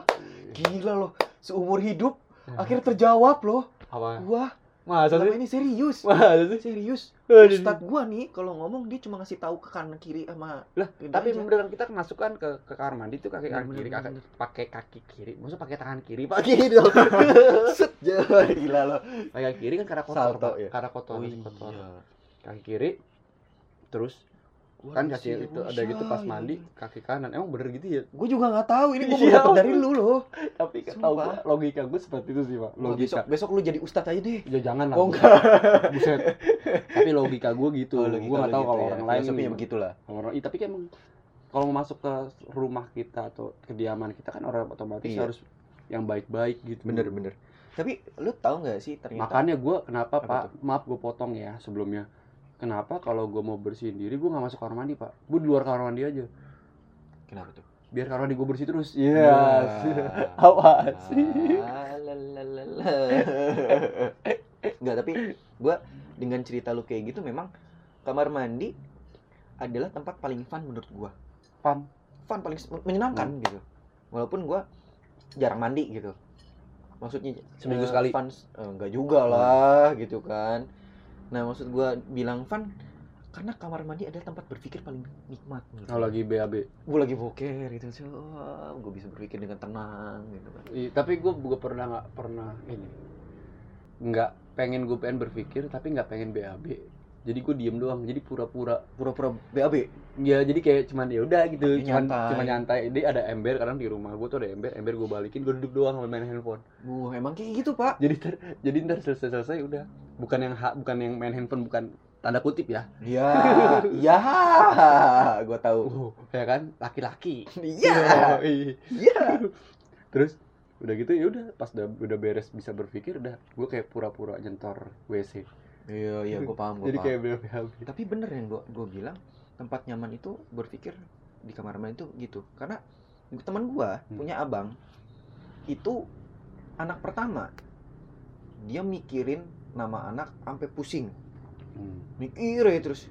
[SPEAKER 2] gila loh. Seumur hidup akhirnya terjawab loh.
[SPEAKER 1] apa
[SPEAKER 2] Wah,
[SPEAKER 1] Masa
[SPEAKER 2] Selama
[SPEAKER 1] sih?
[SPEAKER 2] ini serius.
[SPEAKER 1] Masa sih?
[SPEAKER 2] Serius.
[SPEAKER 1] Aduh.
[SPEAKER 2] Ustadz gua nih kalau ngomong dia cuma ngasih tahu ke kanan kiri sama
[SPEAKER 1] Lah,
[SPEAKER 2] Gitu
[SPEAKER 1] tapi
[SPEAKER 2] aja.
[SPEAKER 1] beneran kita kemasukan ke ke kamar mandi tuh kaki
[SPEAKER 2] Bener,
[SPEAKER 1] kanan
[SPEAKER 2] bener,
[SPEAKER 1] kiri,
[SPEAKER 2] bener,
[SPEAKER 1] kakak
[SPEAKER 2] bener.
[SPEAKER 1] pakai kaki kiri, maksudnya pakai tangan kiri, pakai gitu.
[SPEAKER 2] set jawa gila lo.
[SPEAKER 1] pakai kaki kiri kan karena kotor,
[SPEAKER 2] Salto,
[SPEAKER 1] Pak.
[SPEAKER 2] ya?
[SPEAKER 1] karena kotor, kotor. iya.
[SPEAKER 2] iya.
[SPEAKER 1] Kaki kiri, terus
[SPEAKER 2] Gua
[SPEAKER 1] kan
[SPEAKER 2] udah
[SPEAKER 1] kasih itu ada
[SPEAKER 2] serius,
[SPEAKER 1] gitu pas
[SPEAKER 2] Shay.
[SPEAKER 1] mandi kaki kanan, emang bener gitu ya?
[SPEAKER 2] ya Gua juga nggak tahu ini gua
[SPEAKER 1] Iya.
[SPEAKER 2] dapat dari lu loh.
[SPEAKER 1] Tapi
[SPEAKER 2] Sumpah.
[SPEAKER 1] tau gua, logika gue seperti itu sih pak,
[SPEAKER 2] Wah, Besok
[SPEAKER 1] logika.
[SPEAKER 2] besok lu jadi ustadz aja deh.
[SPEAKER 1] Ya jangan lah.
[SPEAKER 2] Oh
[SPEAKER 1] Bu.
[SPEAKER 2] enggak.
[SPEAKER 1] Buset. Tapi logika gue gitu.
[SPEAKER 2] Oh, logika
[SPEAKER 1] gue
[SPEAKER 2] lu
[SPEAKER 1] gak tahu
[SPEAKER 2] gitu
[SPEAKER 1] kalau
[SPEAKER 2] ya.
[SPEAKER 1] orang lain.
[SPEAKER 2] Filosofinya
[SPEAKER 1] gimana.
[SPEAKER 2] begitulah.
[SPEAKER 1] Kalau orang, Ih, tapi kan emang kalau mau masuk ke rumah kita atau kediaman kita kan orang otomatis
[SPEAKER 2] Iya.
[SPEAKER 1] harus yang baik-baik gitu.
[SPEAKER 2] Bener bener. Tapi lu tahu nggak sih ternyata
[SPEAKER 1] Makanya gue kenapa
[SPEAKER 2] Apa
[SPEAKER 1] pak? Maaf gue potong ya sebelumnya. Kenapa kalau gue mau bersihin diri gue nggak masuk kamar mandi pak? Gue di luar kamar mandi aja.
[SPEAKER 2] kenapa tuh?
[SPEAKER 1] Biar kamar mandi gue bersih terus.
[SPEAKER 2] Iya,
[SPEAKER 1] Iya.
[SPEAKER 2] Ya.
[SPEAKER 1] Apa sih?
[SPEAKER 2] Lalalala. Nggak, tapi gua dengan cerita lu kayak gitu memang kamar mandi adalah tempat paling fun menurut gua.
[SPEAKER 1] Fun.
[SPEAKER 2] Fun paling s- menyenangkan gitu. Walaupun gua jarang mandi gitu. Maksudnya
[SPEAKER 1] Seminggu
[SPEAKER 2] eh,
[SPEAKER 1] sekali.
[SPEAKER 2] Fun s- eh, nggak juga lah gitu kan. Nah, maksud gua bilang fun karena kamar mandi adalah tempat berpikir paling nikmat. menurut
[SPEAKER 1] Kalau Oh,
[SPEAKER 2] gua.
[SPEAKER 1] lagi BAB.
[SPEAKER 2] Gua lagi boker gitu, gue bisa berpikir dengan tenang gitu kan.
[SPEAKER 1] Iya, tapi gue gue pernah nggak pernah ini nggak pengen gue pengen berpikir tapi nggak pengen BAB jadi gue diem doang jadi pura-pura
[SPEAKER 2] Pura-pura BAB.
[SPEAKER 1] ya jadi kayak cuman ya udah gitu
[SPEAKER 2] Tapi
[SPEAKER 1] cuman
[SPEAKER 2] nyantai.
[SPEAKER 1] cuman nyantai jadi ada ember kadang di rumah gue tuh ada ember ember gue balikin gue duduk doang sambil main handphone
[SPEAKER 2] Wah, emang kayak gitu, Pak.
[SPEAKER 1] jadi ter, jadi ntar selesai selesai udah bukan yang ha, bukan yang main handphone bukan tanda kutip ya
[SPEAKER 2] Iya. Iya, gua
[SPEAKER 1] uh
[SPEAKER 2] tahu.
[SPEAKER 1] ya kan laki-laki
[SPEAKER 2] Iya.
[SPEAKER 1] Yoi.
[SPEAKER 2] Iya.
[SPEAKER 1] terus udah gitu ya udah pas udah, udah beres bisa berpikir udah gue kayak pura-pura nyentor WC
[SPEAKER 2] Iya, iya, gua paham, gua
[SPEAKER 1] jadi
[SPEAKER 2] paham.
[SPEAKER 1] kayak BAB
[SPEAKER 2] Gitu. Tapi bener yang gua gua bilang, tempat nyaman itu berpikir di kamar mandi itu gitu. Karena teman gua
[SPEAKER 1] Hmm.
[SPEAKER 2] punya abang itu anak pertama. Dia mikirin nama anak sampai pusing.
[SPEAKER 1] Hmm.
[SPEAKER 2] Mikir aja terus.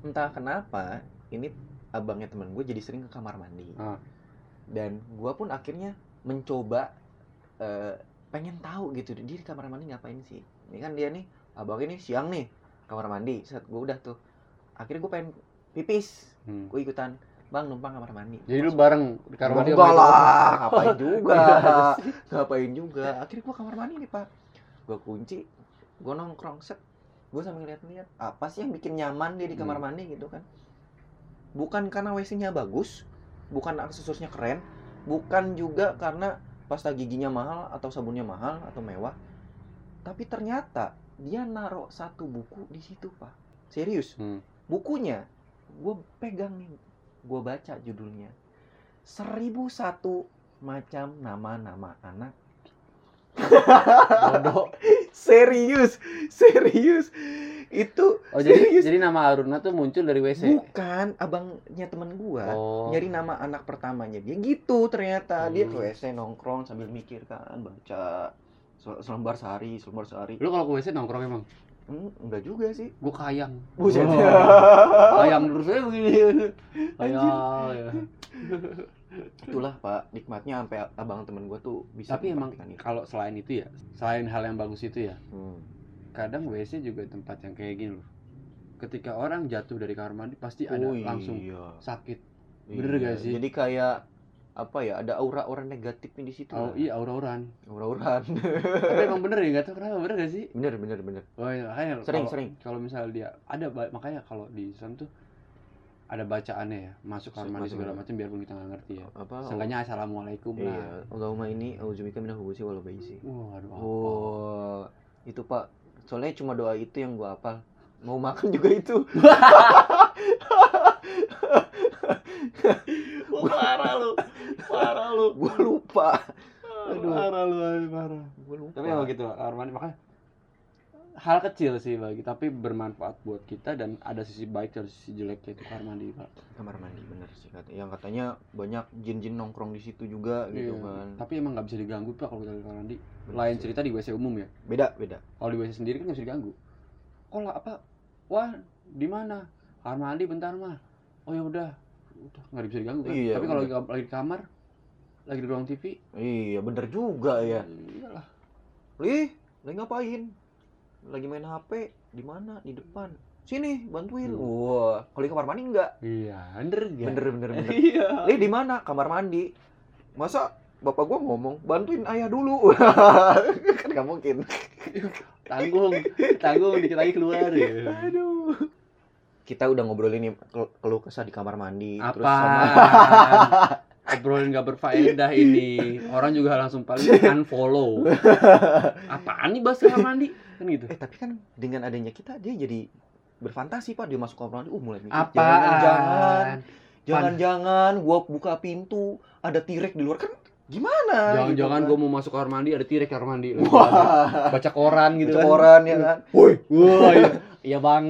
[SPEAKER 2] Entah kenapa, ini abangnya teman gue jadi sering ke kamar mandi.
[SPEAKER 1] Ah.
[SPEAKER 2] Dan gue pun akhirnya mencoba eh, pengen tahu gitu dia di kamar mandi ngapain sih. Ini kan dia nih abang ini siang nih kamar mandi. Saat gue udah tuh, akhirnya gue pengen pipis.
[SPEAKER 1] Hmm.
[SPEAKER 2] Gue ikutan, bang numpang kamar mandi.
[SPEAKER 1] Jadi lu bareng di kamar mandi
[SPEAKER 2] Enggak
[SPEAKER 1] sama itu?
[SPEAKER 2] lah, ngapain juga.
[SPEAKER 1] Iya
[SPEAKER 2] ngapain juga. Akhirnya gua kamar mandi nih, Pak. Gua kunci, gua nongkrong set. Gua sambil lihat-lihat apa sih yang bikin nyaman dia di kamar
[SPEAKER 1] Hmm.
[SPEAKER 2] mandi gitu kan. Bukan karena WC-nya bagus, bukan aksesorisnya keren, bukan juga karena pasta giginya mahal atau sabunnya mahal atau mewah. Tapi ternyata dia naruh satu buku di situ, Pak. Serius
[SPEAKER 1] Hmm.
[SPEAKER 2] bukunya gue pegang nih gue baca judulnya 1001 macam nama-nama anak
[SPEAKER 1] Bodoh.
[SPEAKER 2] serius serius itu
[SPEAKER 1] Oh jadi
[SPEAKER 2] Serius.
[SPEAKER 1] jadi nama Aruna tuh muncul dari
[SPEAKER 2] Iya
[SPEAKER 1] WC.
[SPEAKER 2] bukan abangnya temen gue
[SPEAKER 1] Oh.
[SPEAKER 2] nyari nama anak pertamanya dia gitu ternyata dia ke
[SPEAKER 1] Hmm.
[SPEAKER 2] WC nongkrong sambil mikir kan baca se- selembar sehari selembar sehari
[SPEAKER 1] Lu kalau ke WC nongkrong emang?
[SPEAKER 2] Hmm, enggak juga sih
[SPEAKER 1] Gua Oh. kayang.
[SPEAKER 2] Buset. Oh.
[SPEAKER 1] Wah. Kayang terus aja begini. Kayang. ya.
[SPEAKER 2] itulah pak nikmatnya sampai abang temen gue tuh bisa gitu.
[SPEAKER 1] Tapi emang
[SPEAKER 2] mempraktikkan itu.
[SPEAKER 1] kalau selain itu ya, selain hal yang bagus itu ya,
[SPEAKER 2] Hmm.
[SPEAKER 1] kadang WC juga tempat yang kayak gini loh. Ketika orang jatuh dari kamar mandi pasti ada
[SPEAKER 2] Oh,
[SPEAKER 1] langsung
[SPEAKER 2] iya.
[SPEAKER 1] sakit. Bener
[SPEAKER 2] Iya,
[SPEAKER 1] gak sih?
[SPEAKER 2] Jadi kayak apa ya? Ada aura-aura negatifnya di situ.
[SPEAKER 1] Oh,
[SPEAKER 2] lah.
[SPEAKER 1] iya aura-auran.
[SPEAKER 2] Aura-auran.
[SPEAKER 1] Tapi emang bener ya, nggak tahu kenapa bener gak sih?
[SPEAKER 2] bener bener bener.
[SPEAKER 1] Oh iya, makanya
[SPEAKER 2] Sering,
[SPEAKER 1] kalau-
[SPEAKER 2] sering.
[SPEAKER 1] Kalau misalnya dia ada ba- makanya kalau di Islam tuh ada bacaannya ya, masuk kamar mandi
[SPEAKER 2] Masuk
[SPEAKER 1] segala
[SPEAKER 2] kamar.
[SPEAKER 1] macam biarpun kita nggak ngerti ya.
[SPEAKER 2] Apa?
[SPEAKER 1] Seenggaknya assalamualaikum
[SPEAKER 2] Iya.
[SPEAKER 1] lah.
[SPEAKER 2] Allahumma ini auzubika minal khubusi wal khubaisi.
[SPEAKER 1] Waduh. apa?
[SPEAKER 2] Oh, itu Pak. Soalnya cuma doa itu yang gua hafal. Mau makan juga itu.
[SPEAKER 1] Wah, parah lu. Parah lu.
[SPEAKER 2] Gua lupa.
[SPEAKER 1] Aduh. Parah lu, aduh, parah.
[SPEAKER 2] Gua lupa.
[SPEAKER 1] Tapi emang gitu, kamar mandi makanya hal kecil sih bagi tapi bermanfaat buat kita dan ada sisi baik dan sisi jeleknya itu kamar mandi pak.
[SPEAKER 2] Kamar mandi bener sih kata. Yang katanya banyak jin-jin nongkrong di situ juga
[SPEAKER 1] Iya.
[SPEAKER 2] gitu kan.
[SPEAKER 1] Tapi emang nggak bisa diganggu pak kalau kita di kamar mandi.
[SPEAKER 2] Bener
[SPEAKER 1] Lain
[SPEAKER 2] sih.
[SPEAKER 1] cerita di WC umum ya.
[SPEAKER 2] Beda beda.
[SPEAKER 1] kalau di WC sendiri kan nggak bisa diganggu kalau apa wah di mana kamar mandi bentar mah oh ya udah udah nggak bisa diganggu kan
[SPEAKER 2] Iya,
[SPEAKER 1] tapi kalau lagi, lagi di kamar lagi di ruang TV
[SPEAKER 2] Iya bener juga ya.
[SPEAKER 1] iyalah
[SPEAKER 2] Lih, lagi ngapain? lagi main HP di mana di depan sini bantuin
[SPEAKER 1] Hmm.
[SPEAKER 2] wah kalau di kamar mandi enggak
[SPEAKER 1] Iya, bener ya.
[SPEAKER 2] bener bener bener
[SPEAKER 1] Iya.
[SPEAKER 2] Li di mana kamar mandi masa bapak gua ngomong bantuin ayah dulu kan nggak mungkin
[SPEAKER 1] Tanggung, tanggung dikit lagi keluar ya.
[SPEAKER 2] aduh kita udah ngobrolin nih kel- keluh kesah di kamar mandi terus
[SPEAKER 1] Apa?
[SPEAKER 2] sama
[SPEAKER 1] Obrolan gak berfaedah ini. Orang juga langsung paling unfollow. Apaan nih bahas kamar mandi? Kan gitu.
[SPEAKER 2] eh tapi kan dengan adanya kita dia jadi berfantasi pak dia masuk kamar mandi uh mulai mikir jangan
[SPEAKER 1] Apaan?
[SPEAKER 2] jangan jangan gua buka pintu ada tirek di luar kan gimana kan?
[SPEAKER 1] Jangan-jangan gue mau masuk kamar mandi ada tirek kamar mandi. Lagi
[SPEAKER 2] wah
[SPEAKER 1] Baca koran gitu
[SPEAKER 2] Baca
[SPEAKER 1] kan.
[SPEAKER 2] koran ya kan woi
[SPEAKER 1] Wah, iya. iya bang.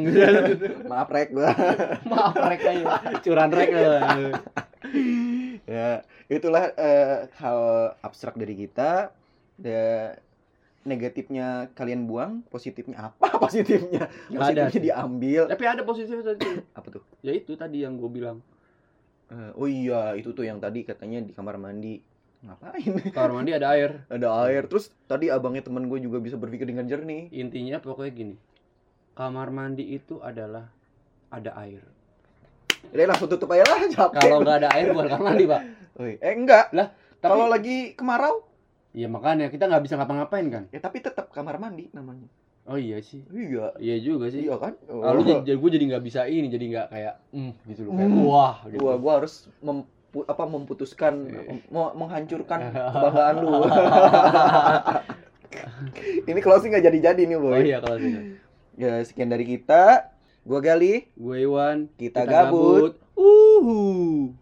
[SPEAKER 2] maaf rek gua
[SPEAKER 1] Maaf rek aja. Curan rek. aja.
[SPEAKER 2] ya itulah eh, hal abstrak dari kita ya, negatifnya kalian buang positifnya apa positifnya
[SPEAKER 1] Nggak ada
[SPEAKER 2] positifnya
[SPEAKER 1] sih.
[SPEAKER 2] diambil
[SPEAKER 1] Tapi ada positifnya tadi.
[SPEAKER 2] apa tuh
[SPEAKER 1] Ya itu tadi yang gue bilang.
[SPEAKER 2] Eh, oh iya itu tuh yang tadi katanya di kamar mandi ngapain
[SPEAKER 1] Kamar mandi ada air.
[SPEAKER 2] ada air terus tadi abangnya teman gue juga bisa berpikir dengan jernih
[SPEAKER 1] Intinya pokoknya gini. Kamar mandi itu adalah ada air.
[SPEAKER 2] udah langsung tutup aja lah capek
[SPEAKER 1] Kalau nggak ada air bukan kamar mandi, Pak.
[SPEAKER 2] Oi, eh enggak
[SPEAKER 1] Tapi
[SPEAKER 2] kalau lagi kemarau
[SPEAKER 1] ya makanya kita nggak bisa ngapa-ngapain kan.
[SPEAKER 2] ya tapi tetap kamar mandi namanya
[SPEAKER 1] Oh iya sih.
[SPEAKER 2] iya
[SPEAKER 1] Iya juga sih.
[SPEAKER 2] iya kan
[SPEAKER 1] Lalu jadi, jadi gue jadi nggak bisa ini, jadi nggak kayak mm, gitu loh. Kayak,
[SPEAKER 2] Mm.
[SPEAKER 1] Wah, gitu.
[SPEAKER 2] gua gua harus mempu- apa memutuskan
[SPEAKER 1] Eh.
[SPEAKER 2] mau menghancurkan kebanggaan lu ini closing nggak jadi-jadi nih boy
[SPEAKER 1] oh iya kalau sih.
[SPEAKER 2] ya sekian dari kita Uhuh. gua Gali
[SPEAKER 1] Gue Iwan,
[SPEAKER 2] kita, gabut
[SPEAKER 1] Uhu.